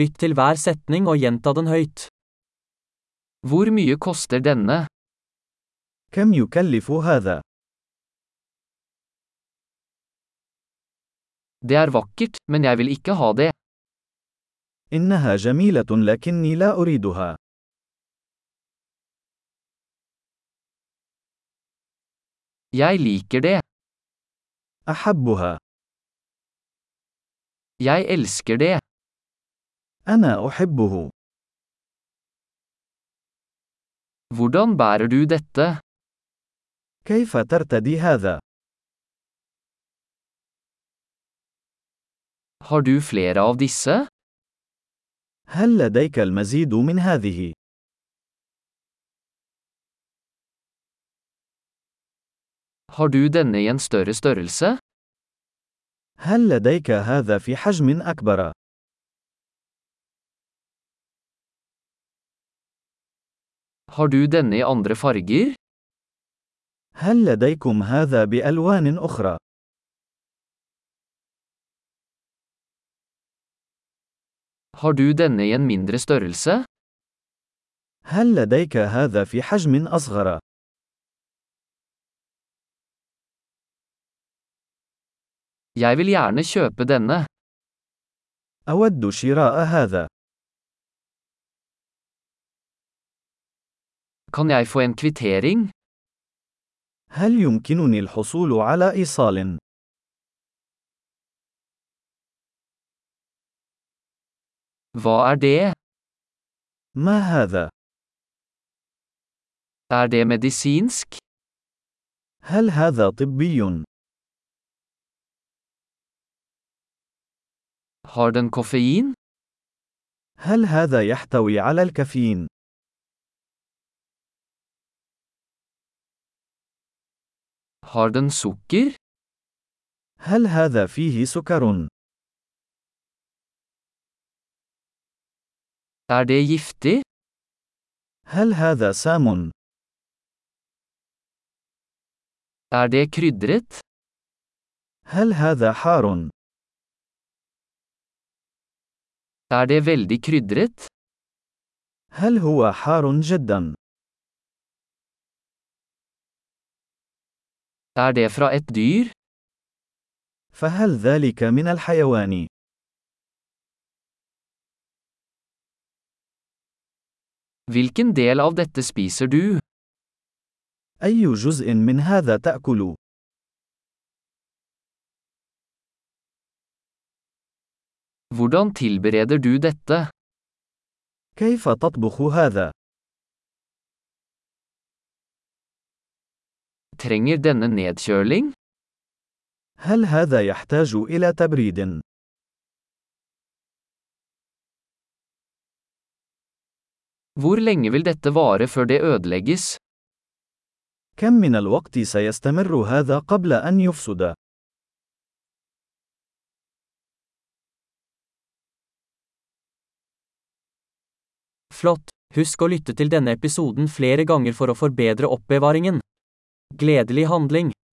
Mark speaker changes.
Speaker 1: Lytt til hver setning og gjenta den høyt. Hvor mye koster denne?
Speaker 2: كم يكلف هذا؟
Speaker 1: Det er vakkert, men jeg vil ikke ha det.
Speaker 2: إنها جميلة لكني لا أريدها.
Speaker 1: Jeg liker det.
Speaker 2: أحبها.
Speaker 1: Jeg elsker det.
Speaker 2: أنا أحبه.
Speaker 1: Hvordan bærer du dette?
Speaker 2: كيف ترتدي هذا؟
Speaker 1: Har du flere av disse?
Speaker 2: هل لديك المزيد من هذه؟
Speaker 1: Har du denne i en større størrelse?
Speaker 2: هل لديك هذا في حجم أكبر؟
Speaker 1: Har du denne i andre farger?
Speaker 2: هل لديكم هذا بألوان أخرى؟
Speaker 1: Har du denne i en mindre størrelse?
Speaker 2: هل لديك هذا في حجم أصغر؟
Speaker 1: Jeg vil gjerne kjøpe denne.
Speaker 2: أود شراء هذا.
Speaker 1: Kan jeg få en kvittering?
Speaker 2: هل يمكنني الحصول على إيصال؟
Speaker 1: Hva er det?
Speaker 2: ما هذا؟
Speaker 1: Er det medisinsk?
Speaker 2: هل هذا طبي؟
Speaker 1: Har den koffein?
Speaker 2: هل هذا يحتوي على الكافيين؟
Speaker 1: Har den sukker?
Speaker 2: هل هذا فيه سكر؟
Speaker 1: Er det giftig?
Speaker 2: هل هذا سام؟
Speaker 1: Er det krydret?
Speaker 2: هل هذا حار؟
Speaker 1: Er det veldig krydret?
Speaker 2: هل هو حار جدا؟
Speaker 1: Er det fra et dyr?
Speaker 2: فهل ذلك من الحيوان؟
Speaker 1: Hvilken del av dette spiser du?
Speaker 2: أي جزء من هذا تأكل؟
Speaker 1: Hvordan tilbereder du dette?
Speaker 2: كيف تطبخ هذا؟
Speaker 1: Trenger denne nedkjøling?
Speaker 2: هل هذا يحتاج إلى تبريد؟
Speaker 1: Hvor lenge vil dette vare før det ødelegges?
Speaker 2: كم من الوقت سيستمر هذا قبل أن يفسد؟
Speaker 1: Flott! Husk å lytte til denne episoden flere ganger for å forbedre oppbevaringen. Gledelig handling!